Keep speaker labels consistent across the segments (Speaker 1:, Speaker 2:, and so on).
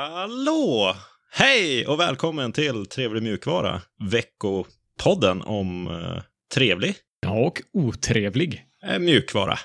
Speaker 1: Hallå! Hej och välkommen till Trevlig mjukvara, veckopodden om eh, trevlig
Speaker 2: Ja, och otrevlig.
Speaker 1: eh, mjukvara.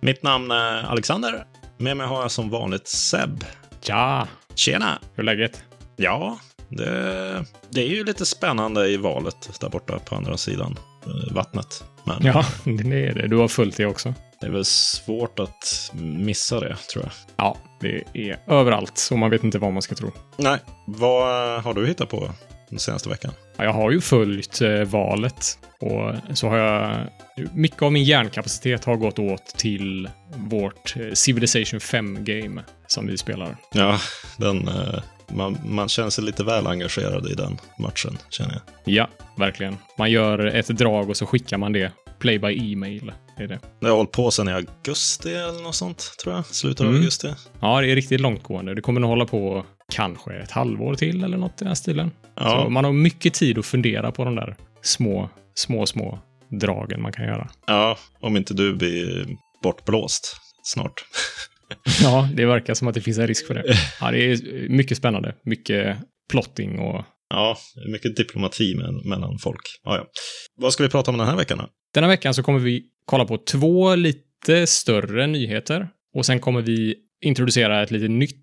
Speaker 1: Mitt namn är Alexander. Med mig har jag som vanligt Seb.
Speaker 2: Ja,
Speaker 1: Tjena!
Speaker 2: hur är läget?
Speaker 1: Ja, det, det är ju lite spännande i valet där borta på andra sidan eh, vattnet. Men
Speaker 2: Ja, det är det. Du har följt det också.
Speaker 1: Det är väl svårt att missa det, tror jag.
Speaker 2: Ja, det är överallt, så man vet inte vad man ska tro.
Speaker 1: Nej. Vad har du hittat på den senaste veckan?
Speaker 2: Ja, Jag har ju följt eh, valet och så har jag... Mycket av min hjärnkapacitet har gått åt till vårt eh, Civilization 5-game som vi spelar.
Speaker 1: Ja, den... eh, Man, man känner sig lite väl engagerad i den matchen, känner jag.
Speaker 2: Ja, verkligen. Man gör ett drag och så skickar man det. Play by e-mail är det.
Speaker 1: Jag har hållit på sedan i augusti eller något sånt, tror jag. Slutet av
Speaker 2: Mm.
Speaker 1: augusti.
Speaker 2: Ja, det är riktigt långtgående. Det kommer nog hålla på kanske ett halvår till eller något i den stilen. Så man har mycket tid att fundera på de där små, små, små dragen man kan göra.
Speaker 1: ja, om inte du blir bortblåst snart.
Speaker 2: Ja, det verkar som att det finns en risk för det. Ja, det är mycket spännande. Mycket plotting och...
Speaker 1: Ja, mycket diplomati men, mellan folk. Ja, ja. Vad ska vi prata om den här veckan då?
Speaker 2: Denna veckan så kommer vi kolla på två lite större nyheter och sen kommer vi introducera ett lite nytt,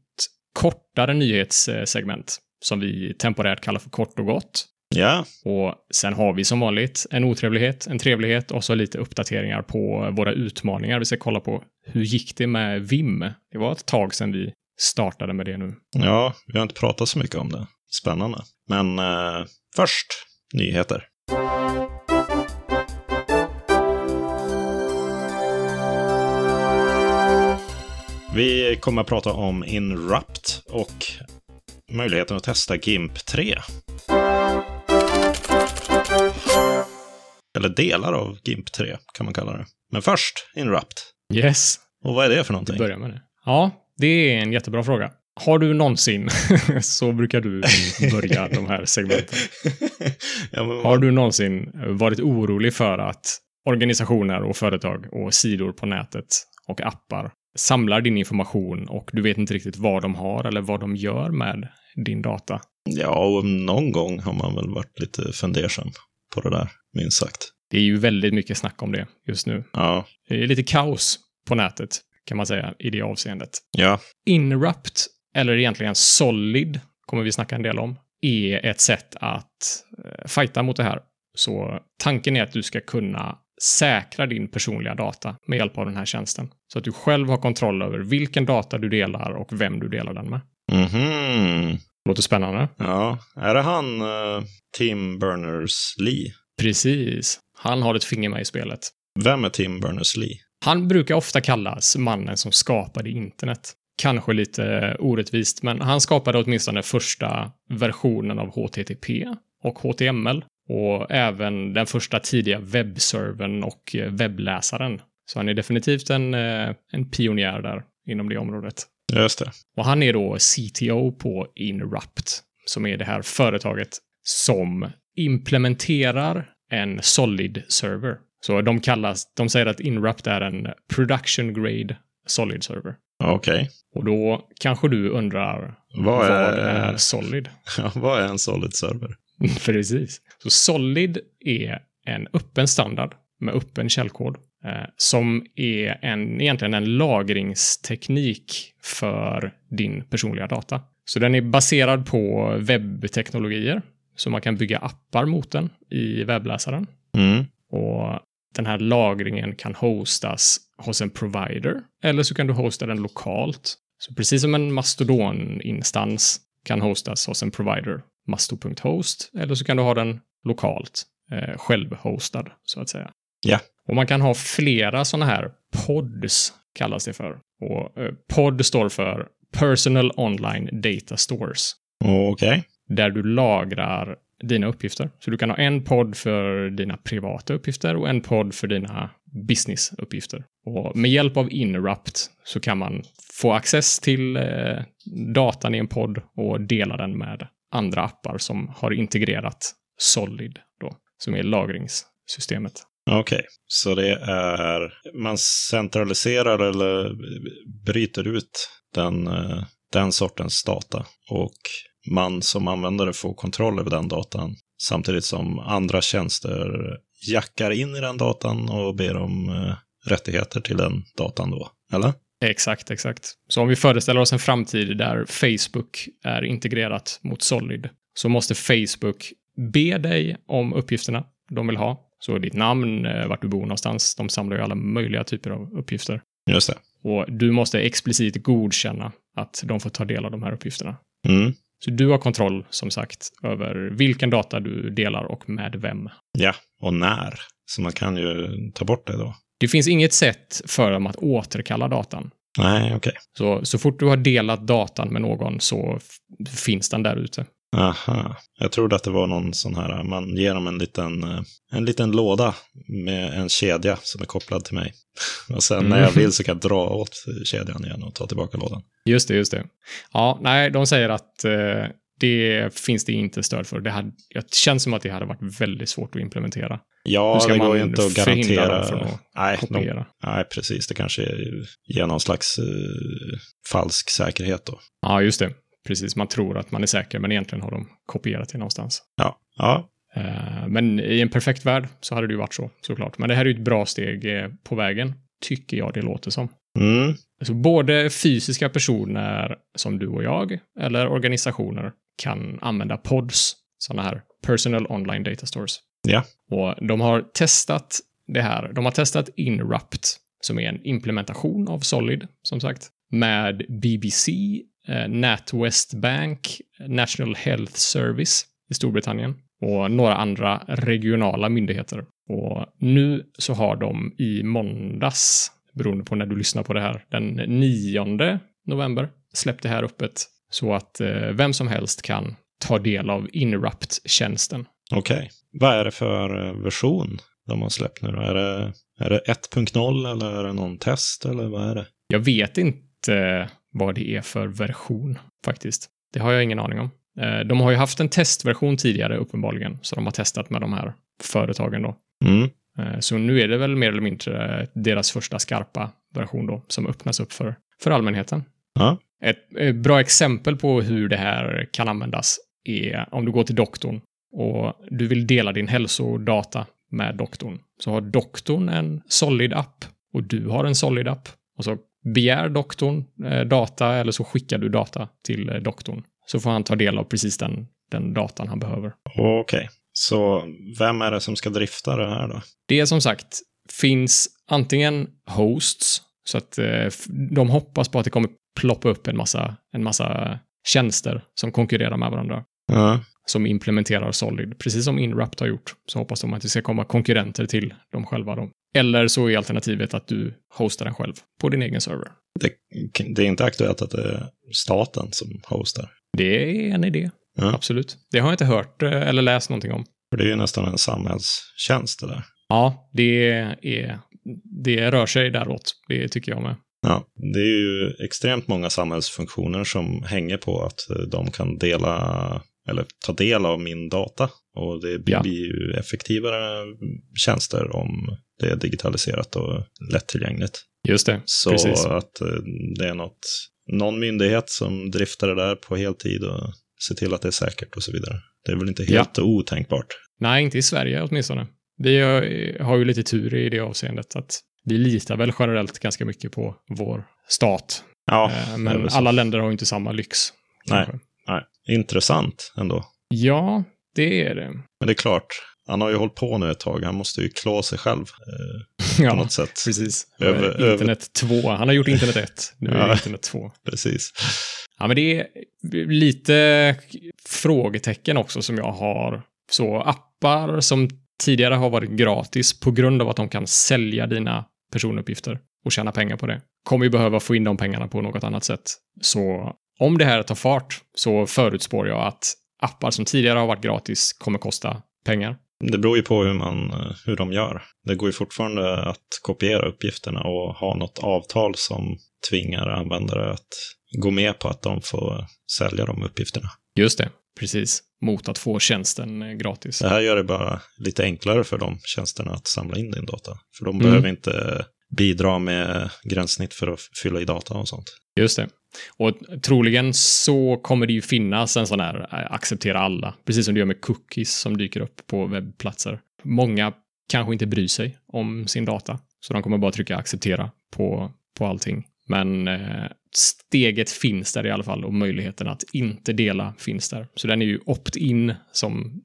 Speaker 2: kortare nyhetssegment som vi temporärt kallar för kort och gott.
Speaker 1: Ja,
Speaker 2: Och sen har vi som vanligt en otrevlighet, en trevlighet och så lite uppdateringar på våra utmaningar. Vi ska kolla på hur gick det med VIM? Det var ett tag sedan vi startade med det nu.
Speaker 1: ja vi har inte pratat så mycket om det. Spännande. Men eh, först, nyheter. Vi kommer att prata om Inrupt och möjligheten att testa GIMP 3. Eller delar av GIMP 3 kan man kalla det. Men först Inrupt.
Speaker 2: Yes,
Speaker 1: Och vad är det för någonting?
Speaker 2: börja med det. Ja, det är en jättebra fråga. Har du någonsin, så brukar du börja de här segmenten.
Speaker 1: ja, men,
Speaker 2: Har du någonsin varit orolig för att organisationer och företag och sidor på nätet och appar samlar din information och du vet inte riktigt vad de har eller vad de gör med din data?
Speaker 1: ja, och någon gång har man väl varit lite fundersam på det där, minst sagt.
Speaker 2: Det är ju väldigt mycket snack om det just nu.
Speaker 1: Ja,
Speaker 2: Det är lite kaos på nätet kan man säga i det avseendet.
Speaker 1: ja,
Speaker 2: Inrupt, eller egentligen Solid, kommer vi snacka en del om, är ett sätt att eh, fighta mot det här. Så tanken är att du ska kunna säkra din personliga data med hjälp av den här tjänsten. Så att du själv har kontroll över vilken data du delar och vem du delar den med.
Speaker 1: mhm.
Speaker 2: Låter spännande.
Speaker 1: Ja, är det han eh, Tim Berners-Lee?
Speaker 2: Precis. Han har ett finger med i spelet.
Speaker 1: Vem är Tim Berners-Lee?
Speaker 2: Han brukar ofta kallas mannen som skapade internet. Kanske lite orättvist, men han skapade åtminstone första versionen av HTTP och HTML och även den första tidiga webbservern och eh, webbläsaren. Så han är definitivt en, eh, en pionjär där inom det området.
Speaker 1: Ja, Just det.
Speaker 2: Och han är då CTO på Inrupt, som är det här företaget som implementerar en Solid-server. Så de kallas, de säger att Inrupt är en production grade Solid-server.
Speaker 1: Okej.
Speaker 2: Och då kanske du undrar
Speaker 1: Vad
Speaker 2: vad
Speaker 1: är,
Speaker 2: är Solid?
Speaker 1: ja, vad är en solid server?
Speaker 2: Precis. Så Solid är en öppen standard med öppen källkod eh, som är en, egentligen en lagringsteknik för din personliga data. Så den är baserad på webbteknologier, så man kan bygga appar mot den i webbläsaren.
Speaker 1: Mm.
Speaker 2: Och den här lagringen kan hostas hos en provider, eller så kan du hosta den lokalt. Så precis som en Mastodon-instans kan hostas hos en provider, masto.host, eller så kan du ha den lokalt, eh, självhostad, så att säga.
Speaker 1: Ja.
Speaker 2: Och man kan ha flera sådana här pods, kallas det för. Och eh, pod står för Personal Online Data Stores
Speaker 1: Okej.
Speaker 2: där du lagrar dina uppgifter. Så du kan ha en podd för dina privata uppgifter och en podd för dina businessuppgifter. Och med hjälp av Inrupt så kan man få access till eh, datan i en podd och dela den med andra appar som har integrerat Solid då, som är lagrings systemet.
Speaker 1: Okej, så det är... Man centraliserar eller bryter ut den, eh, den sortens data. Och man som användare får kontroll över den datan. Samtidigt som andra tjänster jackar in i den datan och ber om eh, rättigheter till den datan då. Eller?
Speaker 2: Exakt, exakt. Så om vi föreställer oss en framtid där Facebook är integrerat mot Solid så måste Facebook be dig om uppgifterna de vill ha. Så ditt namn, eh, vart du bor någonstans, de samlar ju alla möjliga typer av uppgifter.
Speaker 1: Just det.
Speaker 2: Och du måste explicit godkänna att de får ta del av de här uppgifterna.
Speaker 1: Mm.
Speaker 2: Så du har kontroll, som sagt, över vilken data du delar och med vem.
Speaker 1: Ja, och när. Så man kan ju ta bort det då.
Speaker 2: Det finns inget sätt för dem att återkalla datan.
Speaker 1: Nej, okej.
Speaker 2: Så, så fort du har delat datan med någon så f- finns den där ute.
Speaker 1: Aha, jag trodde att det var någon sån här, man ger dem en liten, eh, en liten låda med en kedja som är kopplad till mig. Och sen när jag
Speaker 2: Mm.
Speaker 1: vill så kan jag dra åt kedjan igen och ta tillbaka lådan.
Speaker 2: Just det, just det. Ja, nej, de säger att eh, det finns det inte stöd för. Det, hade, det känns som att det hade varit väldigt svårt att implementera. Hur
Speaker 1: Ja,
Speaker 2: ska
Speaker 1: det går
Speaker 2: man
Speaker 1: ju inte att
Speaker 2: förhindra
Speaker 1: garantera.
Speaker 2: dem från att
Speaker 1: nej, de,
Speaker 2: Kopiera.
Speaker 1: nej, precis. Det kanske är- ger någon slags eh, falsk säkerhet då.
Speaker 2: Ja, just det. Precis, man tror att man är säker, men egentligen har de kopierat det någonstans.
Speaker 1: Ja, ja,
Speaker 2: Eh, men i en perfekt värld så hade det ju varit så, såklart. Men det här är ju ett bra steg eh, på vägen, tycker jag det låter som.
Speaker 1: mm,
Speaker 2: Så Alltså, både fysiska personer som du och jag, eller organisationer, kan använda pods, sådana här personal online data stores.
Speaker 1: Ja.
Speaker 2: Och de har testat det här. De har testat Inrupt, som är en implementation av Solid, som sagt, med BBC, eh, NatWest Bank, National Health Service i Storbritannien och några andra regionala myndigheter. Och nu så har de i måndags, beroende på när du lyssnar på det här, den 9 november släppt det här öppet så att eh, vem som helst kan ta del av Inrupt-tjänsten.
Speaker 1: okej. Vad är det för eh, version de har släppt nu då? Är det, är det 1.0 eller är det någon test eller vad är det?
Speaker 2: Jag vet inte vad det är för version faktiskt. Det har jag ingen aning om. Eh, De har ju haft en testversion tidigare uppenbarligen, så de har testat med de här företagen då.
Speaker 1: Mm.
Speaker 2: Eh, Så nu är det väl mer eller mindre eh, deras första skarpa version då, som öppnas upp för, för allmänheten.
Speaker 1: Ja.
Speaker 2: Ett eh, bra exempel på hur det här kan användas är om du går till doktorn och du vill dela din hälsodata med doktorn. Så har doktorn en Solid-app och du har en Solid-app. Och så begär doktorn eh, data eller så skickar du data till eh, doktorn. Så får han ta del av precis den, den datan han behöver.
Speaker 1: Okej, så vem är det som ska drifta det här då?
Speaker 2: Det som sagt finns antingen hosts, så att eh, f- de hoppas på att det kommer ploppa upp en massa, en massa tjänster som konkurrerar med varandra,
Speaker 1: Ja,
Speaker 2: som implementerar Solid. Precis som Inrupt har gjort, så hoppas de att det ska komma konkurrenter till dem själva. Då. Eller så är alternativet att du hostar den själv på din egen server.
Speaker 1: det är inte aktuellt att det är staten som hostar.
Speaker 2: Det är en idé,
Speaker 1: Ja.
Speaker 2: absolut. Det har jag inte hört eh, eller läst någonting om.
Speaker 1: För det är ju nästan en samhällstjänst det där.
Speaker 2: Ja, det, är, det rör sig däråt. Det tycker jag med.
Speaker 1: Ja, det är ju extremt många samhällsfunktioner som hänger på att eh, de kan dela eller ta del av min data. Och det blir
Speaker 2: Ja.
Speaker 1: ju effektivare tjänster om det är digitaliserat och lättillgängligt.
Speaker 2: Just det.
Speaker 1: Så
Speaker 2: Precis.
Speaker 1: att eh, det är något, någon myndighet som driftar det där på heltid och ser till att det är säkert och så vidare. Det är väl inte helt otänkbart.
Speaker 2: Nej, inte i Sverige åtminstone. Vi har- har ju lite tur i det avseendet att vi litar väl generellt ganska mycket på vår stat.
Speaker 1: Ja,
Speaker 2: Eh,
Speaker 1: det är
Speaker 2: Men
Speaker 1: väl så.
Speaker 2: alla länder har ju inte samma lyx.
Speaker 1: Nej.
Speaker 2: kanske.
Speaker 1: Intressant ändå.
Speaker 2: Ja, det är det.
Speaker 1: Men det är klart, han har ju hållit på nu ett tag. Han måste ju klå sig själv eh, på
Speaker 2: Ja,
Speaker 1: något sätt.
Speaker 2: precis. Eh,
Speaker 1: Över- över-
Speaker 2: internet 2. Han har gjort internet 1. Nu är
Speaker 1: Ja.
Speaker 2: det internet 2.
Speaker 1: Precis.
Speaker 2: Ja, men det är lite frågetecken också som jag har. Så appar som tidigare har varit gratis på grund av att de kan sälja dina personuppgifter och tjäna pengar på det kommer ju behöva få in de pengarna på något annat sätt. Så om det här tar fart så förutspår jag att appar som tidigare har varit gratis kommer kosta pengar.
Speaker 1: Det beror ju på hur, man, eh, hur de gör. Det går ju fortfarande att kopiera uppgifterna och ha något avtal som tvingar användare att gå med på att de får sälja de uppgifterna.
Speaker 2: Just det, precis. Mot att få tjänsten eh, gratis.
Speaker 1: Det här gör det bara lite enklare för de tjänsterna att samla in din data. För de
Speaker 2: Mm.
Speaker 1: behöver inte bidra med gränssnitt för att fylla i data och sånt.
Speaker 2: Just det. Och troligen så kommer det ju finnas en sån här eh, acceptera alla, precis som du gör med cookies som dyker upp på webbplatser. Många kanske inte bryr sig om sin data, så de kommer bara trycka acceptera på, på allting. Men eh, steget finns där i alla fall och möjligheten att inte dela finns där. Så den är ju opt-in som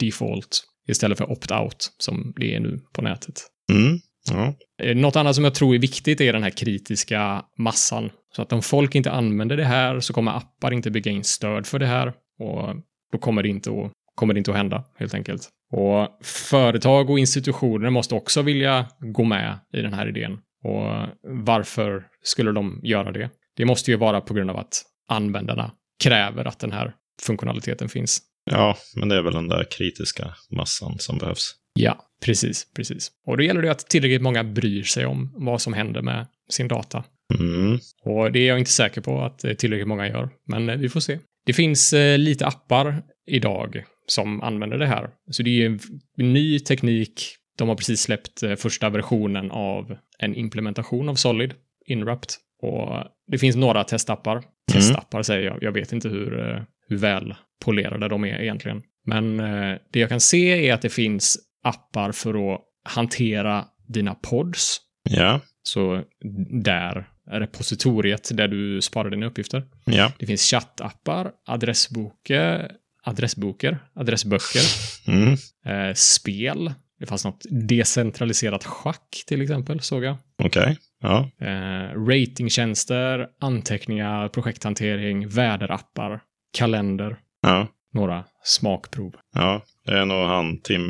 Speaker 2: default istället för opt-out som det är nu på nätet.
Speaker 1: Mm. Ja.
Speaker 2: Eh, Något annat som jag tror är viktigt är den här kritiska massan. Så att om folk inte använder det här så kommer appar inte bygga in stöd för det här och då kommer det inte att, kommer det inte att hända helt enkelt. Och företag och institutioner måste också vilja gå med i den här idén. Och varför skulle de göra det? Det måste ju vara på grund av att användarna kräver att den här funktionaliteten finns.
Speaker 1: ja, men det är väl den där kritiska massan som behövs.
Speaker 2: Ja, precis, precis. Och då gäller det att tillräckligt många bryr sig om vad som händer med sin data.
Speaker 1: Mm.
Speaker 2: Och det är jag inte säker på att eh, tillräckligt många gör, men eh, vi får se. Det finns eh, lite appar idag som använder det här. Så det är ju en v- ny teknik. De har precis släppt eh, första versionen av en implementation av Solid, Inwrapped. Och det finns några testappar. Testappar säger jag. Jag vet inte hur, eh, hur väl polerade de är egentligen. Men eh, det jag kan se är att det finns appar för att hantera dina pods.
Speaker 1: Ja,
Speaker 2: Så där, repositoriet där du sparar dina uppgifter.
Speaker 1: ja.
Speaker 2: Det finns chattappar, adressboker, adressboker, adressböcker,
Speaker 1: Mm.
Speaker 2: eh, spel. Det fanns något decentraliserat schack till exempel, såg jag.
Speaker 1: Okej. Ja.
Speaker 2: Eh, ratingtjänster, anteckningar, projekthantering, väderappar, kalender,
Speaker 1: ja,
Speaker 2: några smakprov.
Speaker 1: ja. Det är nog han Tim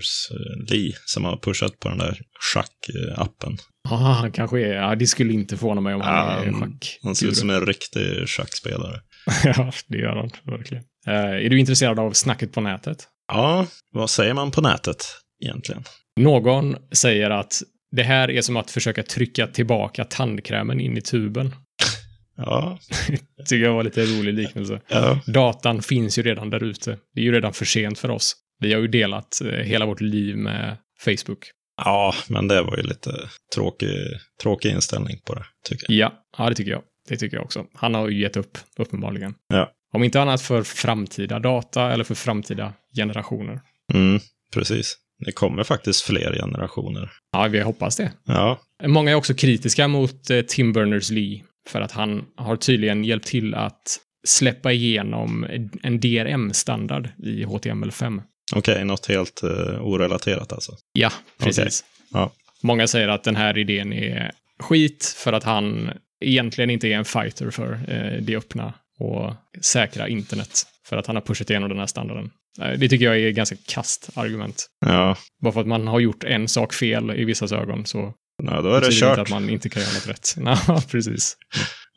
Speaker 1: Berners-Lee som har pushat på den där schackappen.
Speaker 2: Ah, han kanske är, ja, det skulle inte förvåna mig om han är
Speaker 1: Ja,
Speaker 2: schack.
Speaker 1: Han ser ut som en riktig schackspelare.
Speaker 2: ja, det gör han verkligen. Eh, är du intresserad av snacket på nätet?
Speaker 1: Ja, vad säger man på nätet egentligen?
Speaker 2: Någon säger att det här är som att försöka trycka tillbaka tandkrämen in i tuben.
Speaker 1: Ja,
Speaker 2: Tycker jag var lite rolig liknelse.
Speaker 1: ja.
Speaker 2: Datan finns ju redan där ute. Det är ju redan för sent för oss. Vi har ju delat eh, hela vårt liv med Facebook.
Speaker 1: ja men det var ju lite tråkig, tråkig inställning på det, tycker jag.
Speaker 2: Ja, ja det tycker jag. Det tycker jag också. Han har ju gett upp, uppenbarligen.
Speaker 1: Ja.
Speaker 2: Om inte annat för framtida data eller för framtida generationer.
Speaker 1: Mm, precis. Det kommer faktiskt fler generationer.
Speaker 2: Ja, vi hoppas det.
Speaker 1: Ja,
Speaker 2: Många är också kritiska mot eh, Tim Berners-Lee för att han har tydligen hjälpt till att släppa igenom en DRM-standard i HTML5.
Speaker 1: okej, något helt eh, orelaterat alltså.
Speaker 2: Ja, precis.
Speaker 1: Ja.
Speaker 2: Många säger att den här idén är skit för att han egentligen inte är en fighter för eh, det öppna och säkra internet för att han har pushat igenom den här standarden. Eh, Det tycker jag är ett ganska kast argument.
Speaker 1: Ja,
Speaker 2: Bara för att man har gjort en sak fel i vissas ögon så
Speaker 1: nej, då är det
Speaker 2: betyder inte att
Speaker 1: kört.
Speaker 2: man inte kan göra något rätt. Ja, precis.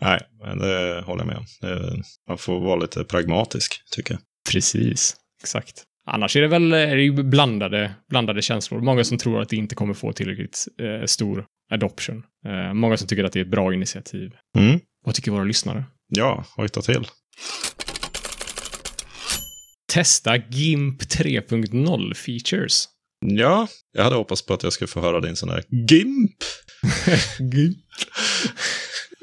Speaker 1: Nej, men det håller jag med om. Det, man får vara lite pragmatisk, tycker jag.
Speaker 2: Precis, exakt. Annars är det väl är det ju blandade, blandade känslor. Många som tror att det inte kommer få tillräckligt eh, stor adoption. Eh, många som tycker att det är ett bra initiativ.
Speaker 1: Mm.
Speaker 2: Vad tycker våra lyssnare?
Speaker 1: Ja, hojta till.
Speaker 2: Testa GIMP 3.0 features.
Speaker 1: Ja, jag hade hoppats på att jag skulle få höra din sån där GIMP.
Speaker 2: GIMP.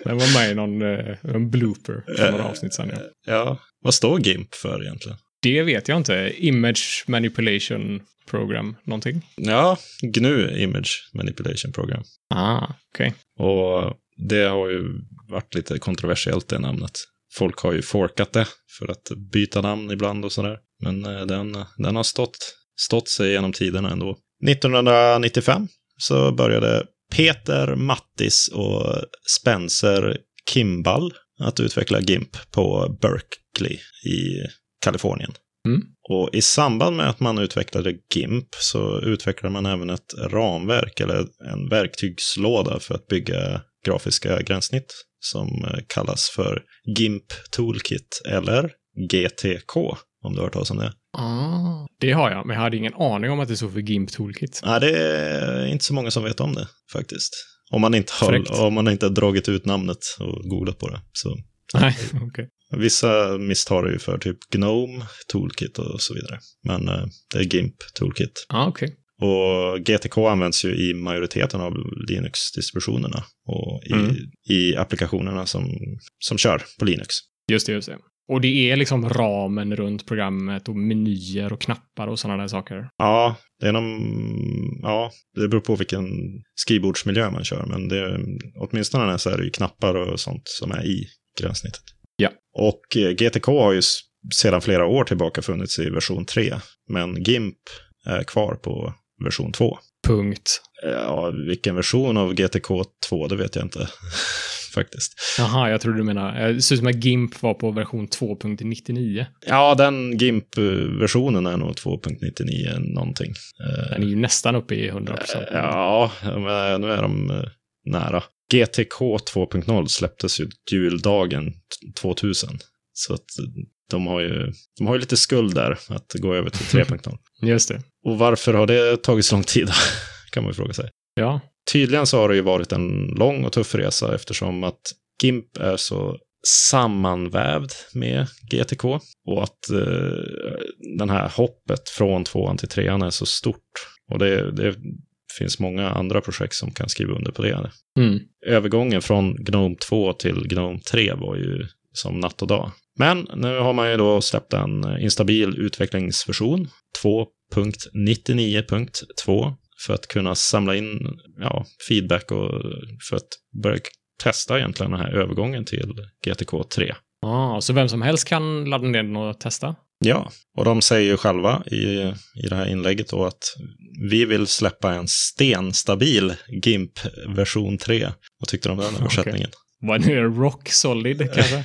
Speaker 2: Det var med i någon, eh, en blooper för några
Speaker 1: Eh.
Speaker 2: avsnitt sedan. Ja.
Speaker 1: Ja, vad står GIMP för egentligen?
Speaker 2: Det vet jag inte. Image manipulation program, någonting.
Speaker 1: Ja, GNU Image Manipulation Program.
Speaker 2: Ah, okej.
Speaker 1: Och det har ju varit lite kontroversiellt det namnet. Folk har ju forkat det för att byta namn ibland och sådär. Men eh, den, den har stått, stått sig genom tiderna ändå. 1995 så började Peter Mattis och Spencer Kimball att utveckla GIMP på Berkeley i Kalifornien.
Speaker 2: Mm.
Speaker 1: Och i samband med att man utvecklade GIMP så utvecklade man även ett ramverk eller en verktygslåda för att bygga grafiska gränssnitt som eh, kallas för GIMP Toolkit eller GTK om du har hört talas om det.
Speaker 2: Ah. Det har jag, men jag hade ingen aning om att det stod för GIMP Toolkit.
Speaker 1: Nej, det är inte så många som vet om det faktiskt. Om man inte
Speaker 2: Fräckt.
Speaker 1: har, om man inte har dragit ut namnet och googlat på det. Så.
Speaker 2: Nej, okej.
Speaker 1: Vissa misstar det ju för typ Gnome, Toolkit och så vidare. Men eh, det är GIMP, Toolkit.
Speaker 2: Ja, Ah, okej.
Speaker 1: Och GTK används ju i majoriteten av Linux-distributionerna och i,
Speaker 2: Mm.
Speaker 1: i applikationerna som, som kör på Linux.
Speaker 2: Just det, just det. Och det är liksom ramen runt programmet och menyer och knappar och sådana där saker.
Speaker 1: Ja, det är någon, ja, det beror på vilken skrivbordsmiljö man kör, men det, åtminstone så är det ju knappar och sånt som är i gränssnittet.
Speaker 2: Ja.
Speaker 1: Och eh, GTK har ju s- sedan flera år tillbaka funnits i version 3, men GIMP är kvar på version 2.
Speaker 2: Punkt.
Speaker 1: Ja, vilken version av GTK 2, det vet jag inte faktiskt.
Speaker 2: Jaha, jag trodde du menade... Det ser ut som att GIMP var på version 2.99.
Speaker 1: Ja, den GIMP-versionen är nog 2.99 någonting. Eh,
Speaker 2: Den är ju nästan uppe i 100%.
Speaker 1: Ja, men nu är de eh, nära. GTK 2.0 släpptes ju juldagen t- 2000. Så att eh, de har ju, de har ju lite skuld där att gå över till 3.0.
Speaker 2: Just det.
Speaker 1: Och varför har det tagit så lång tid? kan man ju fråga sig.
Speaker 2: Ja.
Speaker 1: Tydligen så har det ju varit en lång och tuff resa eftersom att GIMP är så sammanvävd med GTK och att eh, den här hoppet från tvåan till trean är så stort. Och det, det finns många andra projekt som kan skriva under på det.
Speaker 2: Mm.
Speaker 1: Övergången från GNOME 2 till GNOME 3 var ju som natt och dag. Men nu har man ju då släppt en instabil utvecklingsversion 2.99.2 för att kunna samla in ja, feedback och för att börja testa egentligen den här övergången till GTK 3.
Speaker 2: Ah, så vem som helst kan ladda ner den och testa?
Speaker 1: Ja, och de säger ju själva i, i det här inlägget då att vi vill släppa en stenstabil GIMP version 3. Vad tyckte du om den
Speaker 2: Okej.
Speaker 1: översättningen?
Speaker 2: Vad nu är det? Rock solid kanske?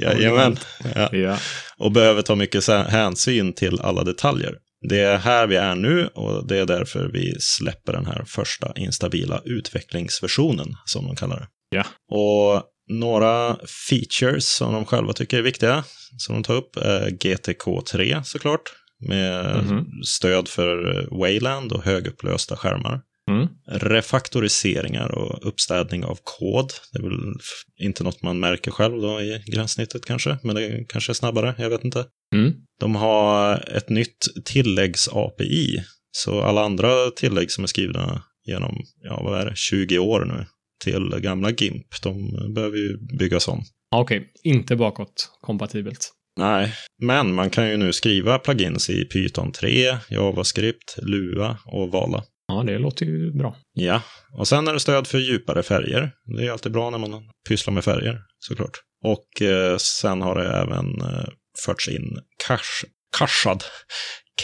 Speaker 1: Jajamän. Ja.
Speaker 2: ja.
Speaker 1: Och behöver ta mycket sä- hänsyn till alla detaljer. Det är här vi är nu och det är därför vi släpper den här första instabila utvecklingsversionen, som de kallar det.
Speaker 2: Ja.
Speaker 1: Och några features som de själva tycker är viktiga, som de tar upp, är GTK3 såklart, med
Speaker 2: Mhm.
Speaker 1: stöd för eh, Wayland och högupplösta skärmar
Speaker 2: Mm.
Speaker 1: refaktoriseringar och uppstädning av kod. Det är väl f- inte något man märker själv då i gränssnittet kanske, men det kanske är snabbare, jag vet inte.
Speaker 2: Mm.
Speaker 1: De har ett nytt tilläggs-API, så alla andra tillägg som är skrivna genom, ja vad är det, 20 år nu till gamla GIMP, de behöver ju byggas om.
Speaker 2: Ah, Okej, inte bakåt kompatibelt.
Speaker 1: Nej, men man kan ju nu skriva plugins i Python 3, JavaScript, Lua och Vala.
Speaker 2: Ja, det låter ju bra.
Speaker 1: Ja, och sen är det stöd för djupare färger. Det är ju alltid bra när man pysslar med färger, såklart. Och eh, sen har det även eh, förts in cache, cachad,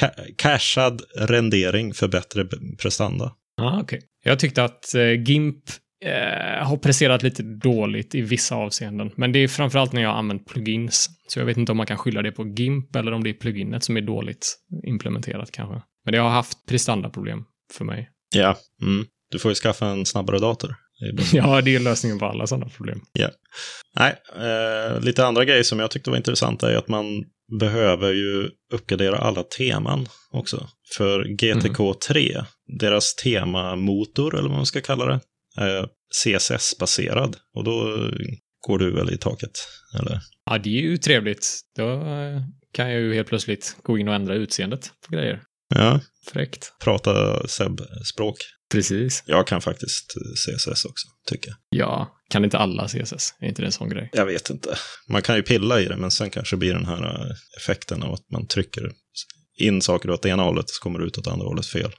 Speaker 1: ca- cachad rendering för bättre b- prestanda.
Speaker 2: Ah, okej. Jag tyckte att eh, GIMP eh, har presterat lite dåligt i vissa avseenden. Men det är framförallt när jag har använt plugins. Så jag vet inte om man kan skylla det på GIMP eller om det är pluginet som är dåligt implementerat kanske. Men det har haft prestandaproblem för mig.
Speaker 1: Ja. Mm. Du får ju skaffa en snabbare dator. Det är bra.
Speaker 2: Ja, det är lösningen på alla sådana problem.
Speaker 1: Nej, eh, lite andra grejer som jag tyckte var intressanta är att man behöver ju uppgradera alla teman också. För GTK3, deras temamotor, eller vad man ska kalla det, är CSS-baserad. Och då går du väl i taket, eller?
Speaker 2: Ja, det är ju trevligt. Då eh, kan jag ju helt plötsligt gå in och ändra utseendet på grejer.
Speaker 1: Ja.
Speaker 2: Fräckt.
Speaker 1: Prata Seb-språk.
Speaker 2: Precis.
Speaker 1: Jag kan faktiskt CSS också, tycker jag.
Speaker 2: Ja, kan inte alla CSS? Är inte det en sån grej?
Speaker 1: Jag vet inte. Man kan ju pilla i det, men sen kanske blir den här eh, effekten av att man trycker in saker åt ena hållet, så kommer det ut åt andra hållet fel.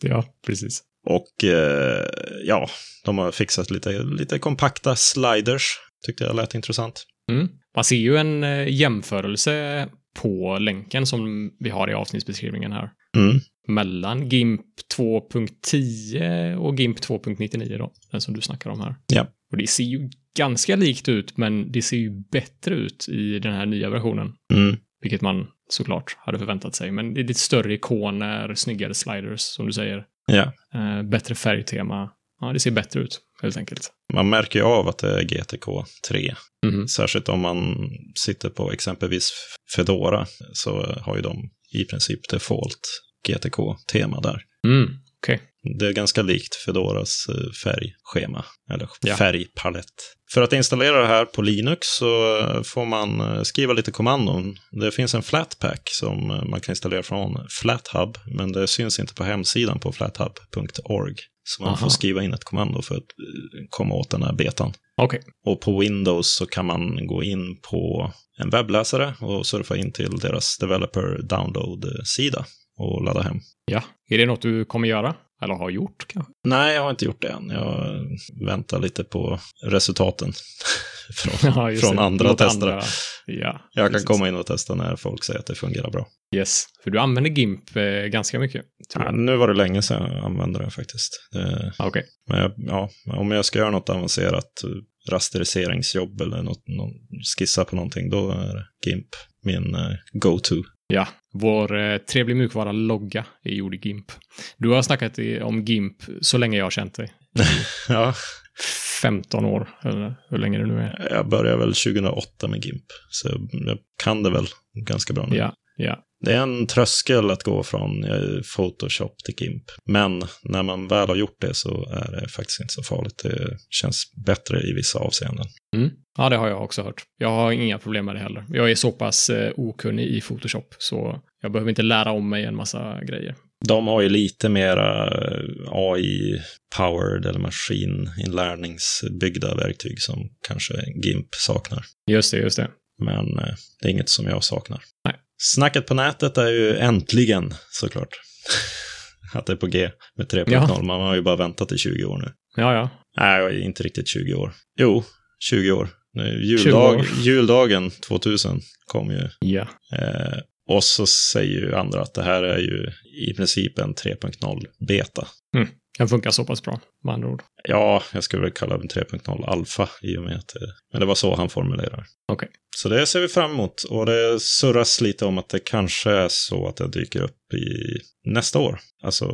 Speaker 2: Ja, precis.
Speaker 1: Och eh, ja, de har fixat lite, lite kompakta sliders. Tyckte jag lät intressant.
Speaker 2: Mm. Man ser ju en eh, jämförelse på länken som vi har i avsnittsbeskrivningen här.
Speaker 1: Mm.
Speaker 2: Mellan GIMP 2.10 och GIMP 2.99 då, den som du snackar om här.
Speaker 1: Ja.
Speaker 2: Och det ser ju ganska likt ut, men det ser ju bättre ut i den här nya versionen.
Speaker 1: Mm.
Speaker 2: Vilket man såklart hade förväntat sig. Men det är lite större ikoner, snyggare sliders som du säger.
Speaker 1: Ja.
Speaker 2: Eh, bättre färgtema. Ja, det ser bättre ut helt enkelt.
Speaker 1: Man märker ju av att det är GTK 3.
Speaker 2: Mhm.
Speaker 1: Särskilt om man sitter på exempelvis Fedora så har ju de i princip default GTK-tema där.
Speaker 2: Mm. Okej.
Speaker 1: Det är ganska likt Fedoras eh, färgschema, eller
Speaker 2: Ja.
Speaker 1: färgpalett. För att installera det här på Linux så eh, får man eh, skriva lite kommandon. Det finns en Flatpak som eh, man kan installera från FlatHub, men det syns inte på hemsidan på flathub.org. Så man
Speaker 2: Aha.
Speaker 1: får skriva in ett kommando för att eh, komma åt den här betan.
Speaker 2: Okej.
Speaker 1: Och på Windows så kan man gå in på en webbläsare och surfa in till deras developer download-sida och ladda hem.
Speaker 2: Ja. Är det något du kommer göra? Eller har gjort kanske?
Speaker 1: Nej, jag har inte gjort det än. Jag väntar lite på resultaten från,
Speaker 2: Ja, just
Speaker 1: från
Speaker 2: det.
Speaker 1: andra
Speaker 2: Mot
Speaker 1: testare.
Speaker 2: andra. Ja.
Speaker 1: Jag kan
Speaker 2: precis.
Speaker 1: komma in och testa när folk säger att det fungerar bra.
Speaker 2: Yes. För du använder GIMP eh, ganska mycket. tror
Speaker 1: Ja,
Speaker 2: jag.
Speaker 1: nu var det länge sedan jag använde den faktiskt. Eh,
Speaker 2: Ah, Okej.
Speaker 1: Men jag, ja, om jag ska göra något avancerat, eh, rasteriseringsjobb eller något, någon, skissa på någonting, då är GIMP min eh, go-to.
Speaker 2: Ja, vår eh, trevlig mjukvara-logga är gjord i GIMP. Du har snackat i, om GIMP så länge jag har känt dig.
Speaker 1: Ja,
Speaker 2: 15 år, eller hur länge det nu är.
Speaker 1: jag började väl 2008 med GIMP, så jag kan det väl ganska bra nu.
Speaker 2: Ja, ja.
Speaker 1: Det är en tröskel att gå från eh, Photoshop till GIMP. Men när man väl har gjort det så är det faktiskt inte så farligt. Det känns bättre i vissa avseenden.
Speaker 2: Mm. Ja, det har jag också hört. Jag har inga problem med det heller. Jag är så pass eh, okunnig i Photoshop, så jag behöver inte lära om mig en massa grejer.
Speaker 1: De har ju lite mera AI-powered eller maskininlärningsbyggda verktyg som kanske GIMP saknar.
Speaker 2: Just det, just det.
Speaker 1: Men eh, det är inget som jag saknar.
Speaker 2: Nej.
Speaker 1: Snacket på nätet är ju äntligen såklart att det är på G med 3.0.
Speaker 2: Ja.
Speaker 1: Man har ju bara väntat i 20 år nu.
Speaker 2: Ja, ja.
Speaker 1: Nej, jag är inte riktigt 20 år. Jo, 20 år. Nu,
Speaker 2: 20
Speaker 1: juldag,
Speaker 2: år.
Speaker 1: Juldagen 2000 kom ju.
Speaker 2: Ja.
Speaker 1: Eh, och så säger ju andra att det här är ju i princip en 3.0-beta.
Speaker 2: Den funkar så pass bra, med andra ord.
Speaker 1: Ja, jag skulle väl kalla den 3.0-alfa i och med att det, men det var så han formulerar.
Speaker 2: Okej.
Speaker 1: Så det ser vi fram emot. Och det surras lite om att det kanske är så att det dyker upp i nästa år. Alltså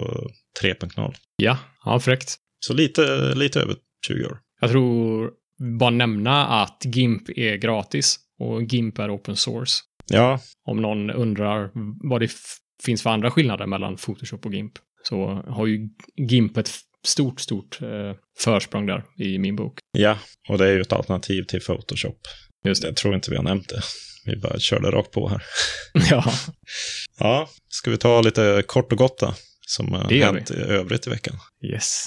Speaker 1: 3.0.
Speaker 2: Ja, ja fräckt.
Speaker 1: Så lite, lite över 20 år.
Speaker 2: Jag tror, bara nämna att GIMP är gratis och GIMP är open source.
Speaker 1: Ja,
Speaker 2: om någon undrar vad det f- finns för andra skillnader mellan Photoshop och GIMP så har ju GIMP ett f- stort, stort eh, försprång där i min bok.
Speaker 1: Ja, och det är ju ett alternativ till Photoshop.
Speaker 2: Just
Speaker 1: Jag tror inte vi har nämnt det. Vi bara körde rakt på här.
Speaker 2: ja,
Speaker 1: Ja, ska vi ta lite kort och gott då, som har
Speaker 2: Det gör
Speaker 1: hänt i övrigt i veckan.
Speaker 2: yes.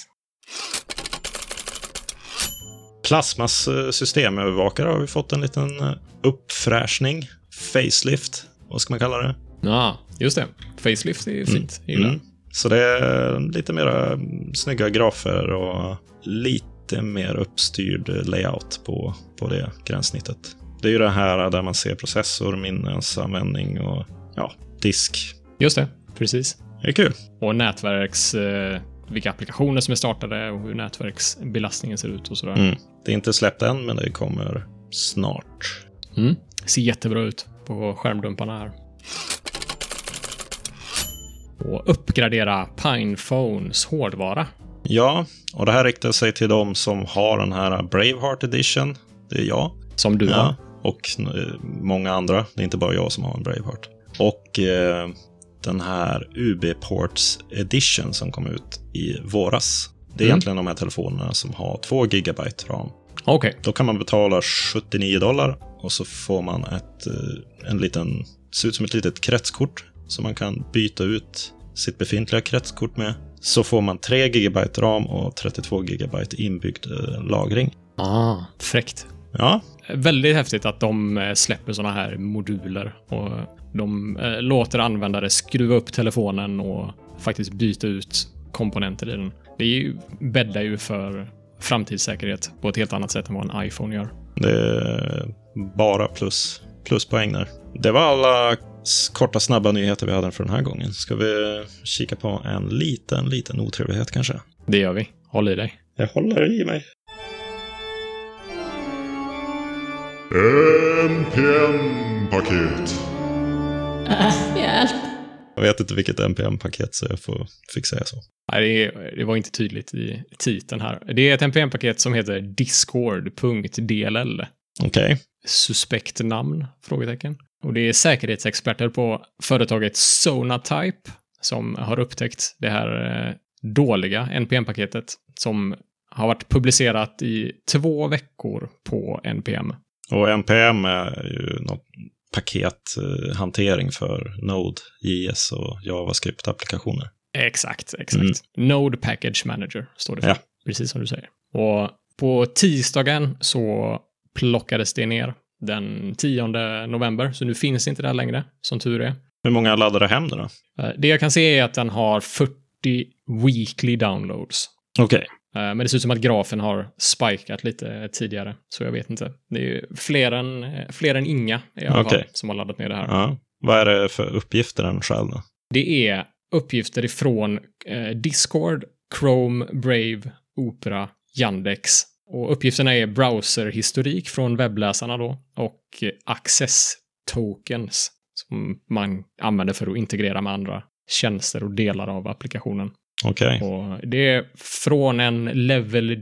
Speaker 1: Plasmas eh, systemövervakare har vi fått en liten eh, uppfräschning, facelift, vad ska man kalla det?
Speaker 2: Ja, just det. Facelift är fint. Mm. Gillar.
Speaker 1: Mm. Så det är lite mera mm, snygga grafer och lite mer uppstyrd layout på, på det gränssnittet. Det är ju det här där man ser processor, minnesanvändning och ja, disk.
Speaker 2: Just det, precis.
Speaker 1: Det är kul.
Speaker 2: Och nätverks... Eh, vilka applikationer som är startade och hur nätverksbelastningen ser ut och sådär.
Speaker 1: Mm. Det är inte släppt än, men det kommer snart.
Speaker 2: Mm. Ser jättebra ut på skärmdumparna här. Och uppgradera Pinephones hårdvara.
Speaker 1: Ja, och det här riktar sig till de som har den här Braveheart Edition. Det är jag.
Speaker 2: Som du har.
Speaker 1: Ja. Och eh, många andra. Det är inte bara jag som har en Braveheart. Och eh, den här UB Ports Edition som kom ut i våras. Det är
Speaker 2: Mm.
Speaker 1: egentligen de här telefonerna som har 2 GB ram.
Speaker 2: Okej.
Speaker 1: Då kan man betala 79 dollar och så får man ett, eh, en liten, ser ut som ett litet kretskort som man kan byta ut sitt befintliga kretskort med. Så får man 3 GB ram och 32 GB inbyggd eh, lagring.
Speaker 2: Ah, fräckt.
Speaker 1: Ja,
Speaker 2: Väldigt häftigt att de eh, släpper såna här moduler och de eh, låter användare skruva upp telefonen och faktiskt byta ut komponenter i den. Det är ju, bäddar ju för framtidssäkerhet på ett helt annat sätt än vad en iPhone gör.
Speaker 1: det är bara plus, pluspoäng där. Det var alla s- korta snabba nyheter vi hade för den här gången. Ska vi kika på en liten, liten otrevlighet kanske?
Speaker 2: Det gör vi. Håll i dig.
Speaker 1: Jag håller i mig.
Speaker 3: NPM-paket.
Speaker 4: Hjälp.
Speaker 1: Jag vet inte vilket NPM-paket så jag får fick säga så.
Speaker 2: Nej, det, det var inte tydligt i titeln här. Det är ett NPM-paket som heter discord.dll.
Speaker 1: Okej.
Speaker 2: suspekt namn? Frågetecken. Och det är säkerhetsexperter på företaget Sonatype som har upptäckt det här eh, dåliga NPM-paketet som har varit publicerat i två veckor på NPM.
Speaker 1: Och NPM är ju något pakethantering för Node, JS och JavaScript-applikationer.
Speaker 2: Exakt, exakt. Node Package Manager står det för.
Speaker 1: Mm. Ja.
Speaker 2: Precis som du säger. Och på tisdagen så plockades det ner den 10 november, så nu finns inte det här längre, som tur är.
Speaker 1: Hur många laddade hem det då?
Speaker 2: Eh, Det jag kan se är att den har 40 weekly downloads.
Speaker 1: Okej.
Speaker 2: Eh, Men det ser ut som att grafen har spikat lite tidigare, så jag vet inte. Det är ju fler än, eh, fler än inga i alla fall
Speaker 1: Okej.
Speaker 2: som har laddat ner det här.
Speaker 1: Ja. Vad är det för uppgifter den stjäl då?
Speaker 2: Det är uppgifter ifrån eh, Discord, Chrome, Brave, Opera, Yandex. Och uppgifterna är browserhistorik från webbläsarna då och eh, access tokens som man använder för att integrera med andra tjänster och delar av applikationen.
Speaker 1: Okej.
Speaker 2: Och det är från en Level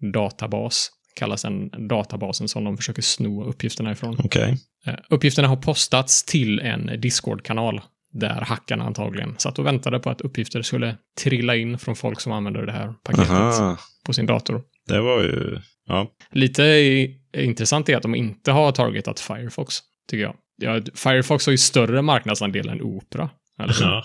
Speaker 2: DB-databas, kallas den databasen som de försöker sno uppgifterna ifrån.
Speaker 1: Okej.
Speaker 2: Eh, Uppgifterna har postats till en Discord-kanal där hackarna antagligen satt och väntade på att uppgifter skulle trilla in från folk som använder det här paketet
Speaker 1: Aha.
Speaker 2: på sin dator.
Speaker 1: Det var ju... Ja.
Speaker 2: Lite i- intressant är att de inte har targetat Firefox, tycker jag. Ja, Firefox har ju större marknadsandel än Opera. eller hur?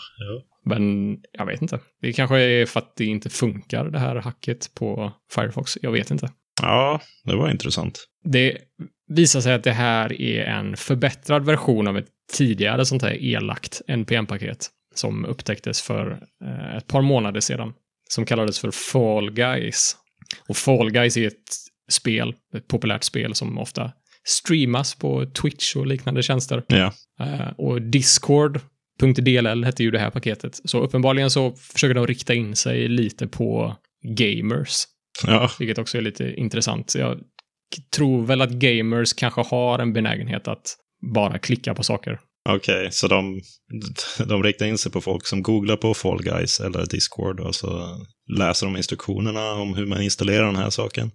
Speaker 2: Men jag vet inte. Det kanske är för att det inte funkar, det här hacket på Firefox. Jag vet inte.
Speaker 1: ja, det var intressant.
Speaker 2: Det visar sig att det här är en förbättrad version av ett tidigare sånt här elakt NPM-paket som upptäcktes för eh, ett par månader sedan. Som kallades för Fall Guys. Och Fall Guys är ett spel, ett populärt spel som ofta streamas på Twitch och liknande tjänster.
Speaker 1: Ja.
Speaker 2: Eh, och Discord.dll hette ju det här paketet. Så uppenbarligen så försöker de rikta in sig lite på gamers.
Speaker 1: Ja,
Speaker 2: Vilket också är lite intressant. Jag k- tror väl att gamers kanske har en benägenhet att bara klicka på saker.
Speaker 1: okej. Så de, de riktar in sig på folk som googlar på Fall Guys eller Discord och så läser de instruktionerna om hur man installerar den här saken.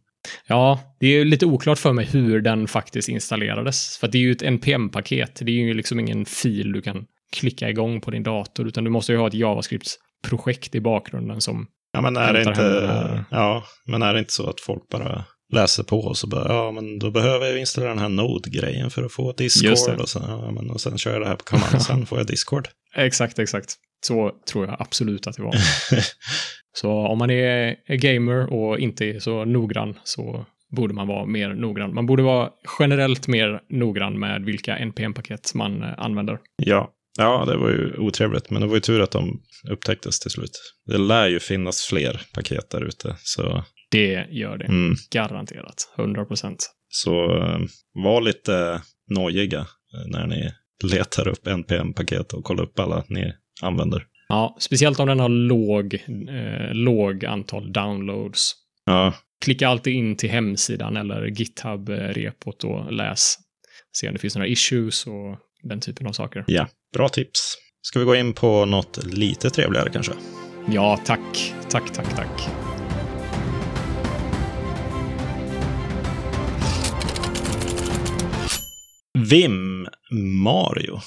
Speaker 2: Ja, det är ju lite oklart för mig hur den faktiskt installerades. För att det är ju ett NPM-paket. Det är ju liksom ingen fil du kan klicka igång på din dator, utan du måste ju ha ett JavaScript-projekt i bakgrunden som...
Speaker 1: Ja, men är det
Speaker 2: Hämtar hem eh, den
Speaker 1: inte,
Speaker 2: här.
Speaker 1: ja, men är det inte så att folk bara läser på och så bara, ja, men då behöver jag installera den här Node-grejen för att få
Speaker 2: Just det.
Speaker 1: Discord och sen, ja, men, och sen kör jag det här på command, sen får jag Discord.
Speaker 2: Exakt, exakt. Så tror jag absolut att det var. Så om man är gamer och inte är så noggrann så borde man vara mer noggrann. Man borde vara generellt mer noggrann med vilka NPM-paket man eh, använder.
Speaker 1: Ja. ja, det var ju otrevligt, men det var ju tur att de upptäcktes till slut. Det lär ju finnas fler paket där ute, så,
Speaker 2: Det gör det.
Speaker 1: mm.
Speaker 2: Garanterat. 100 procent.
Speaker 1: så eh, var lite nojiga eh, när ni letar upp NPM-paket och kollar upp alla ni använder.
Speaker 2: Ja, speciellt om den har låg, eh, låg antal downloads.
Speaker 1: Ja,
Speaker 2: Klicka alltid in till hemsidan eller GitHub-repot och läs. Se om det finns några issues och den typen av saker.
Speaker 1: bra tips. Ska vi gå in på något lite trevligare kanske?
Speaker 2: Ja, tack. Tack, tack, tack.
Speaker 1: Vim Mario.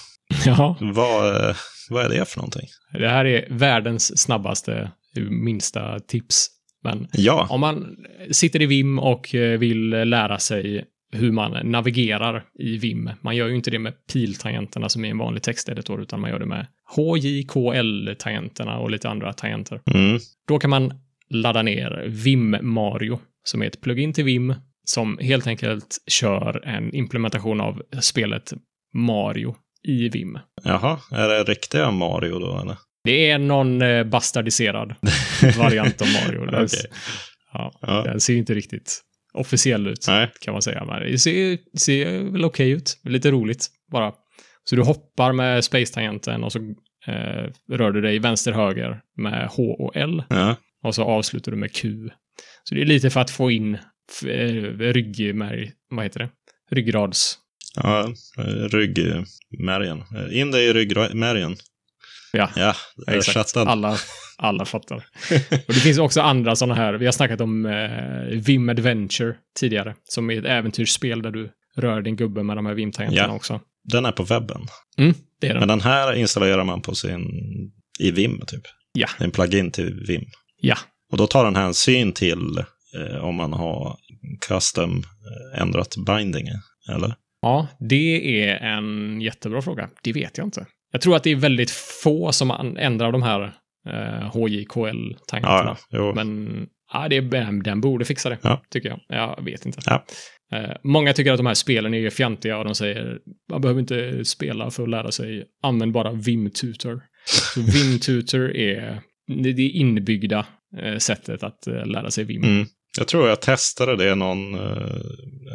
Speaker 2: Ja.
Speaker 1: Vad, eh, vad är det för någonting?
Speaker 2: Det här är världens snabbaste, minsta tips. Men
Speaker 1: Ja,
Speaker 2: om man sitter i VIM och eh, vill lära sig hur man navigerar i VIM. Man gör ju inte det med piltangenterna som i en vanlig texteditor, utan man gör det med HJKL-tangenterna och lite andra tangenter.
Speaker 1: mm.
Speaker 2: Då kan man ladda ner Vim Mario, som är ett plugin till Vim, som helt enkelt kör en implementation av spelet Mario i Vim.
Speaker 1: jaha, är det riktiga Mario då eller?
Speaker 2: Det är någon eh, bastardiserad variant av Mario. Den,
Speaker 1: Okej.
Speaker 2: ja,
Speaker 1: Ja.
Speaker 2: den ser ju inte riktigt officiell ut,
Speaker 1: Nej,
Speaker 2: kan man säga. Men det ser, ser väl okej ut. Lite roligt bara. Så du hoppar med space-tangenten och så eh, rör du dig vänster-höger med H och L
Speaker 1: ja.
Speaker 2: och så avslutar du med Q. Så det är lite för att få in f- eh, ryggmärg, vad heter det? Ryggrads...
Speaker 1: Ja, eh, ryggmärgen. Eh, In dig i ryggmärgen.
Speaker 2: Ja.
Speaker 1: Ja, översättad.
Speaker 2: Alla, alla fattar. Och det finns också andra sådana här. Vi har snackat om eh, Vim Adventure tidigare, som är ett äventyrsspel där du rör din gubbe med de här Vim-tangenterna
Speaker 1: Ja.
Speaker 2: också.
Speaker 1: Den är på webben.
Speaker 2: Mm, det är den.
Speaker 1: Men den här installerar man på sin, i Vim typ.
Speaker 2: Ja.
Speaker 1: Det är en plugin till Vim.
Speaker 2: Ja.
Speaker 1: Och då tar den hänsyn till eh, om man har custom eh, ändrat binding, eller?
Speaker 2: Ja, det är en jättebra fråga. Det vet jag inte. Jag tror att det är väldigt få som an- ändrar de här eh, HJKL-tankarna.
Speaker 1: Ja, ja. Jo.
Speaker 2: Men ja, det är, den borde fixa det,
Speaker 1: Ja.
Speaker 2: tycker jag. Jag vet inte.
Speaker 1: Ja.
Speaker 2: Eh, många tycker att de här spelen är ju fjantiga och de säger man behöver inte spela för att lära sig, använd bara Vim Tutor. Så Vim Tutor är det det inbyggda eh, sättet att eh, lära sig Vim.
Speaker 1: Mm. Jag tror jag testade det någon, eh,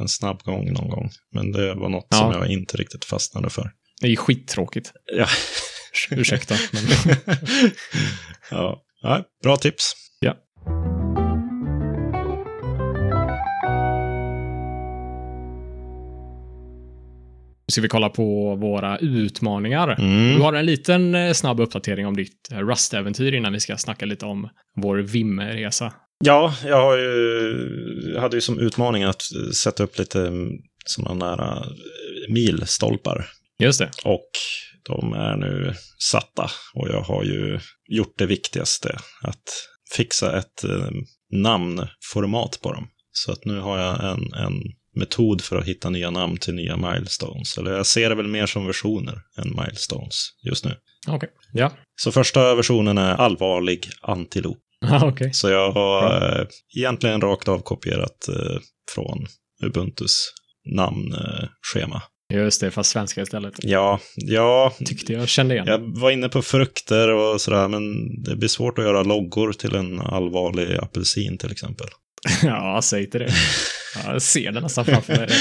Speaker 1: en snabb gång någon gång. Men det var något
Speaker 2: Ja.
Speaker 1: som jag inte riktigt fastnade för.
Speaker 2: Det är skittråkigt.
Speaker 1: Ja.
Speaker 2: Ursäkta. Men...
Speaker 1: ja. Nej, bra tips.
Speaker 2: Ja. Nu ska vi kolla på våra utmaningar.
Speaker 1: Mm.
Speaker 2: Du har en liten eh, snabb uppdatering om ditt eh, Rust-äventyr innan vi ska snacka lite om vår Vim-resa.
Speaker 1: Ja, jag har ju, hade ju som utmaning att sätta upp lite sådana nära milstolpar.
Speaker 2: Just det.
Speaker 1: Och de är nu satta. Och jag har ju gjort det viktigaste, att fixa ett eh, namnformat på dem. Så att nu har jag en, en metod för att hitta nya namn till nya milestones. Eller jag ser det väl mer som versioner än milestones just nu.
Speaker 2: Okej. Ja.
Speaker 1: Så första versionen är allvarlig antilop.
Speaker 2: Okej.
Speaker 1: Så jag har
Speaker 2: Bra.
Speaker 1: eh, egentligen rakt av kopierat eh, från Ubuntus namnschema.
Speaker 2: Just det, fast svenska istället.
Speaker 1: Ja, ja,
Speaker 2: Tyckte jag kände igen.
Speaker 1: jag var inne på frukter och sådär, men det blir svårt att göra loggor till en allvarlig apelsin till exempel.
Speaker 2: ja, säg inte det. Ja, Jag ser det nästan framför mig redan.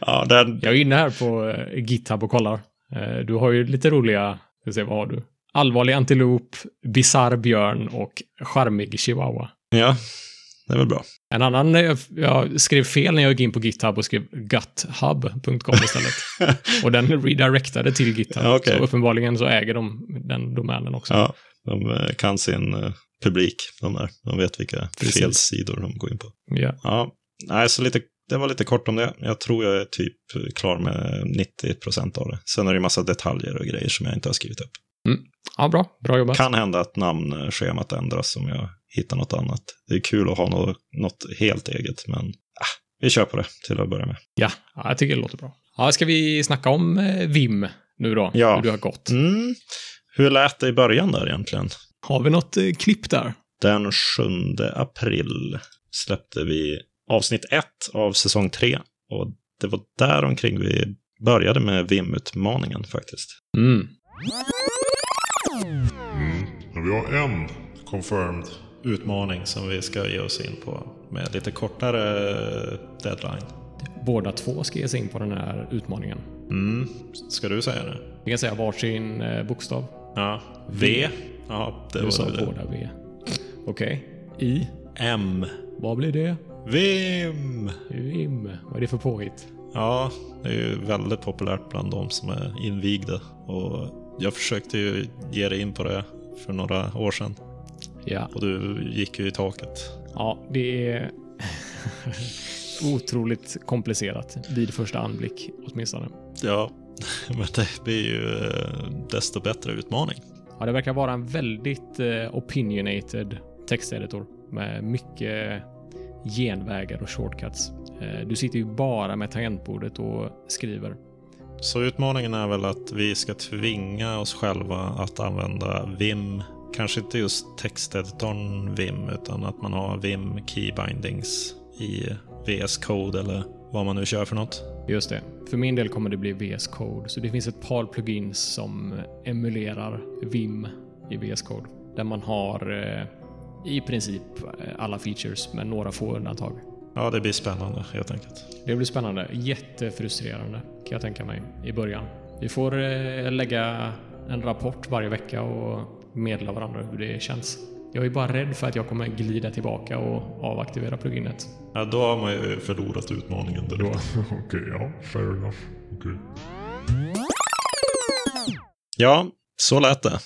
Speaker 1: Ja, den,
Speaker 2: Jag är inne här på eh, GitHub och kollar. Eh, Du har ju lite roliga, ska se, vad har du? Allvarlig antilop, bisarr björn och charmig chihuahua.
Speaker 1: ja, det är väl bra.
Speaker 2: En annan, eh, jag skrev fel när jag gick in på GitHub och skrev guthub.com istället. och den redirectade till GitHub.
Speaker 1: Ja, okej.
Speaker 2: Så uppenbarligen så äger de den domänen också.
Speaker 1: Ja, de eh, kan sin eh, publik, de där. De vet vilka
Speaker 2: Precis.
Speaker 1: fel sidor de går in på.
Speaker 2: Ja.
Speaker 1: Ja, nej, så lite, det var lite kort om det. Jag tror jag är typ klar med 90 procent av det. Sen är det ju massa detaljer och grejer som jag inte har skrivit upp.
Speaker 2: ja, bra. Bra jobbat.
Speaker 1: Kan hända att namnschemat ändras om jag hittar något annat. Det är kul att ha något, något helt eget, men ah, vi kör på det till att börja med.
Speaker 2: Ja, ja, jag tycker det låter bra. Ja, ska vi snacka om eh, VIM nu då?
Speaker 1: Ja.
Speaker 2: Hur det har gått.
Speaker 1: Mm. Hur lät det i början där egentligen?
Speaker 2: Har vi något eh, klipp där?
Speaker 1: Den 7 april släppte vi avsnitt 1 av säsong 3 och det var där omkring vi började med VIM-utmaningen faktiskt.
Speaker 2: Mm.
Speaker 3: Mm, men vi har en confirmed.
Speaker 1: utmaning som vi ska ge oss in på med lite kortare deadline.
Speaker 2: Båda två ska ge sig in på den här utmaningen.
Speaker 1: Mm. Ska du säga det?
Speaker 2: Vi kan säga varsin eh, bokstav.
Speaker 1: Ja. V. Ja, det
Speaker 2: Du sa
Speaker 1: var det.
Speaker 2: båda V. Okej. I.
Speaker 1: M.
Speaker 2: Vad blir det?
Speaker 1: Vim!
Speaker 2: VIM. Vad är det för påhitt?
Speaker 1: Ja, det är ju väldigt populärt bland de som är invigda. Och jag försökte ju ge dig in på det för några år sedan.
Speaker 2: Ja.
Speaker 1: Och du gick ju i taket.
Speaker 2: Ja, det är otroligt komplicerat vid första anblick åtminstone.
Speaker 1: Ja, men det blir ju eh, desto bättre utmaning.
Speaker 2: Ja, det verkar vara en väldigt eh, opinionated texteditor med mycket genvägar och shortcuts. Eh, du sitter ju bara med tangentbordet och skriver.
Speaker 1: Så utmaningen är väl att vi ska tvinga oss själva att använda Vim. Kanske inte just texteditorn Vim, utan att man har Vim keybindings i VS Code eller vad man nu kör för något.
Speaker 2: Just det. För min del kommer det bli VS Code, så det finns ett par plugins som emulerar Vim i VS Code. Där man har eh, i princip eh, alla features med några få undantag.
Speaker 1: Ja, det blir spännande helt enkelt.
Speaker 2: Det blir spännande. Jättefrustrerande kan jag tänka mig i början. Vi får eh, lägga en rapport varje vecka och meddela varandra hur det känns. Jag är bara rädd för att jag kommer glida tillbaka och avaktivera pluginet.
Speaker 1: Ja, då har man ju förlorat utmaningen direkt.
Speaker 3: Okej, ja. Fair enough. Okej.
Speaker 1: Ja, så lät det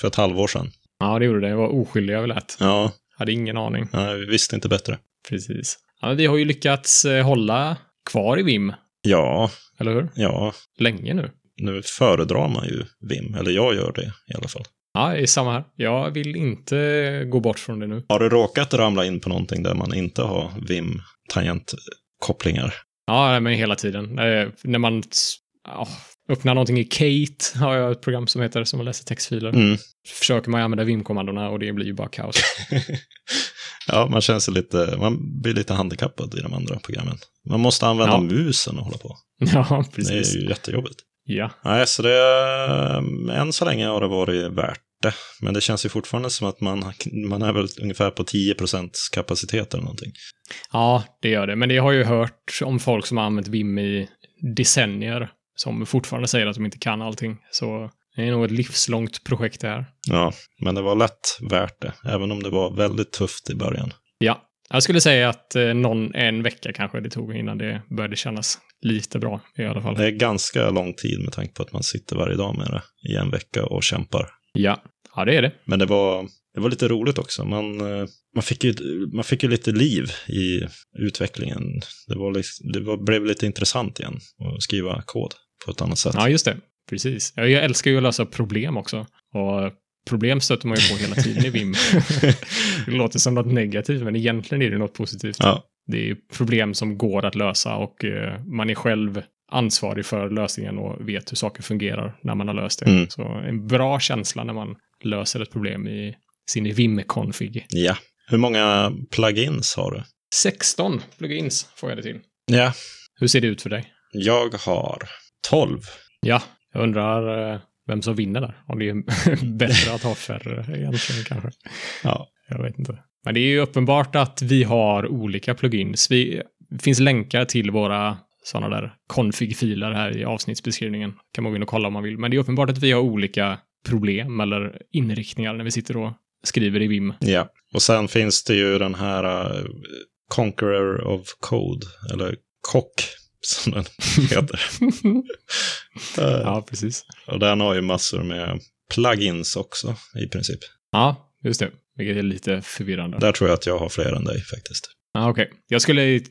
Speaker 1: för ett halvår sedan.
Speaker 2: Ja, det gjorde det. Jag var oskyldig över lätt.
Speaker 1: Ja,
Speaker 2: Hade ingen aning.
Speaker 1: nej, vi visste inte bättre.
Speaker 2: Precis. Ja, men vi har ju lyckats eh, hålla kvar i VIM,
Speaker 1: Ja,
Speaker 2: eller hur?
Speaker 1: ja,
Speaker 2: Länge nu.
Speaker 1: nu föredrar man ju Vim, eller jag gör det i alla fall.
Speaker 2: Ja, det är samma här. Jag vill inte gå bort från det nu.
Speaker 1: Har du råkat ramla in på någonting där man inte har Vim-tangentkopplingar?
Speaker 2: Ja, men hela tiden. Eh, När man ja, öppnar någonting i Kate har jag ett program som heter som läser textfiler.
Speaker 1: Mm.
Speaker 2: Försöker man använda Vim-kommandona och det blir ju bara kaos.
Speaker 1: ja, man känns lite, man blir lite handikappad i de andra programmen. Man måste använda
Speaker 2: Ja.
Speaker 1: musen och hålla på.
Speaker 2: ja,
Speaker 1: Det
Speaker 2: precis.
Speaker 1: är ju jättejobbigt.
Speaker 2: Ja.
Speaker 1: Nej, så det, än så länge har det varit värt det. Men det känns ju fortfarande som att man, man är väl ungefär på 10 kapacitet eller någonting.
Speaker 2: ja, det gör det. Men det har jag ju hört om folk som har använt Vim i decennier som fortfarande säger att de inte kan allting. Så det är nog ett livslångt projekt det här.
Speaker 1: Ja, men det var lätt värt det, även om det var väldigt tufft i början.
Speaker 2: Ja, jag skulle säga att eh, någon en vecka kanske det tog innan det började kännas lite bra i alla fall.
Speaker 1: Det är ganska lång tid med tanke på att man sitter varje dag med det i en vecka och kämpar.
Speaker 2: Ja, ja det är det.
Speaker 1: Men det var, det var lite roligt också. Man, eh, man, fick ju, man fick ju lite liv i utvecklingen. Det, var, liksom- det var, blev lite intressant igen att skriva kod på ett annat sätt.
Speaker 2: Ja, just det. Precis. Jag jag älskar ju att lösa problem också. Och problem stöter man ju på hela tiden i VIM. det låter som något negativt, men egentligen är det något positivt.
Speaker 1: Ja,
Speaker 2: Det är problem som går att lösa och eh, man är själv ansvarig för lösningen och vet hur saker fungerar när man har löst det.
Speaker 1: Mm.
Speaker 2: Så en bra känsla när man löser ett problem i sin VIM-config.
Speaker 1: ja. Hur många plugins har du?
Speaker 2: 16 plugins får jag det till.
Speaker 1: Ja,
Speaker 2: Hur ser det ut för dig?
Speaker 1: jag har 12.
Speaker 2: Ja, jag undrar eh, vem som vinner där. Om det är bättre att ha färre egentligen kanske.
Speaker 1: Ja.
Speaker 2: Jag vet inte. Men det är ju uppenbart att vi har olika plugins. Vi, det finns länkar till våra sådana där config-filer här i avsnittsbeskrivningen. kan man gå in och kolla om man vill. Men det är uppenbart att vi har olika problem eller inriktningar när vi sitter och skriver i VIM.
Speaker 1: Ja, och sen finns det ju den här eh, Conqueror of Code, eller Kock som den heter. Eh,
Speaker 2: ja, precis.
Speaker 1: Och den har ju massor med plugins också i princip.
Speaker 2: Ja, just det. Vilket är lite förvirrande.
Speaker 1: Där tror jag att jag har fler än dig faktiskt.
Speaker 2: Ja, okej. Jag skulle ju t-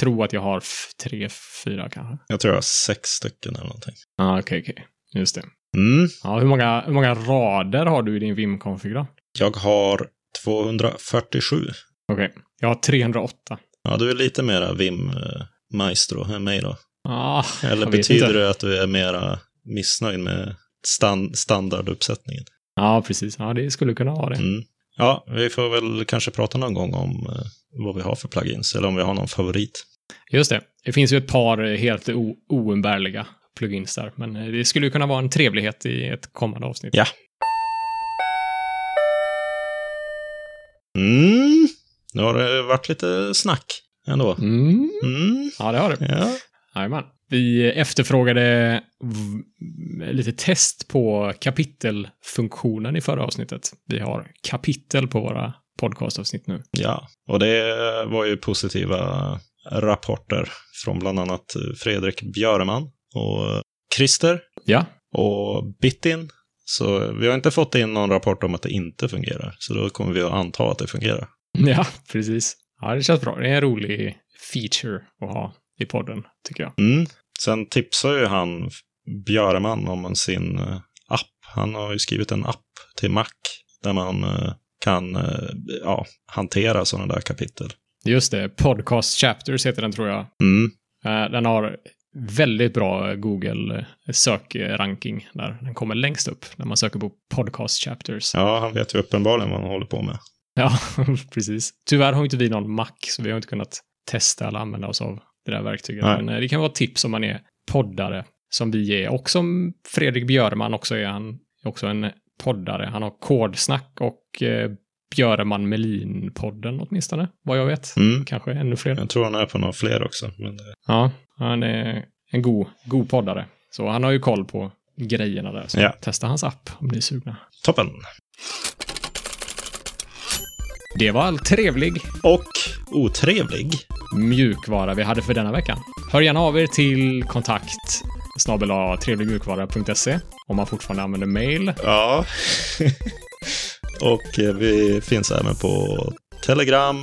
Speaker 2: tro att jag har f- tre, fyra kanske.
Speaker 1: Jag tror jag har sex stycken eller någonting.
Speaker 2: Ja, okej, okej. Just det.
Speaker 1: Mm.
Speaker 2: Ja, hur många, hur många rader har du i din Vim-config då?
Speaker 1: Jag har 247.
Speaker 2: Okej. Jag har 308.
Speaker 1: Ja, du är lite mera Vim-maestro än mig då.
Speaker 2: Ah,
Speaker 1: Eller
Speaker 2: jag vet
Speaker 1: betyder
Speaker 2: inte.
Speaker 1: det att du är mera missnöjd med stan- standarduppsättningen?
Speaker 2: Ja, precis. Ja, det skulle kunna vara det.
Speaker 1: Mm. Ja, vi får väl kanske prata någon gång om eh, vad vi har för plugins, eller om vi har någon favorit.
Speaker 2: Just det. Det finns ju ett par eh, helt o- oumbärliga plugins där, men eh, det skulle ju kunna vara en trevlighet i ett kommande avsnitt.
Speaker 1: Ja. Mm. Nu har det varit lite snack ändå.
Speaker 2: Mm.
Speaker 1: Mm.
Speaker 2: Ja, det har du.
Speaker 1: Ja.
Speaker 2: Jajamän. Vi efterfrågade v- lite test på kapitelfunktionen i förra avsnittet. Vi har kapitel på våra podcastavsnitt nu.
Speaker 1: ja, och det var ju positiva rapporter från bland annat Fredrik Björman och Christer
Speaker 2: Ja,
Speaker 1: och Bittin. Så vi har inte fått in någon rapport om att det inte fungerar, så då kommer vi att anta att det fungerar.
Speaker 2: ja precis. Ja, det känns bra. Det är en rolig feature att ha i podden, tycker jag.
Speaker 1: Mm. Sen tipsar ju han Björman om sin eh, app. Han har ju skrivit en app till Mac där man eh, kan eh, ja, hantera sådana där kapitel.
Speaker 2: Just det, Podcast Chapters heter den tror jag.
Speaker 1: Mm.
Speaker 2: Eh, Den har väldigt bra Google sökranking där. Den kommer längst upp när man söker på Podcast Chapters.
Speaker 1: Ja, han vet ju uppenbarligen vad han håller på med.
Speaker 2: Ja, precis. Tyvärr har inte vi någon Mac, så vi har inte kunnat testa eller använda oss av det där verktyget.
Speaker 1: Nej.
Speaker 2: Men eh, det kan vara ett tips om man är poddare, som vi är, och som Fredrik Björman också är. Han är också en poddare. Han har Kodsnack och eh, Björman Melin-podden åtminstone, vad jag vet.
Speaker 1: Mm.
Speaker 2: Kanske ännu fler.
Speaker 1: Jag tror han är på några fler också. Men eh, det...
Speaker 2: Ja, han är en god, god poddare. Så han har ju koll på grejerna där. Så
Speaker 1: Ja.
Speaker 2: testa hans app om ni är sugna.
Speaker 1: Toppen!
Speaker 2: Det var all trevlig
Speaker 1: Och otrevlig.
Speaker 2: mjukvara vi hade för denna veckan. Hör gärna av er till kontakt snabel trevligmjukvara.se om man fortfarande använder mail.
Speaker 1: Ja. och eh, vi finns även på Telegram,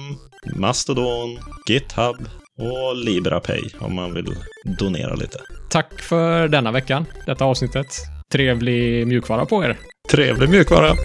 Speaker 1: Mastodon, GitHub och LibraPay om man vill donera lite.
Speaker 2: Tack för denna veckan, detta avsnittet. Trevlig mjukvara på er!
Speaker 1: Trevlig mjukvara!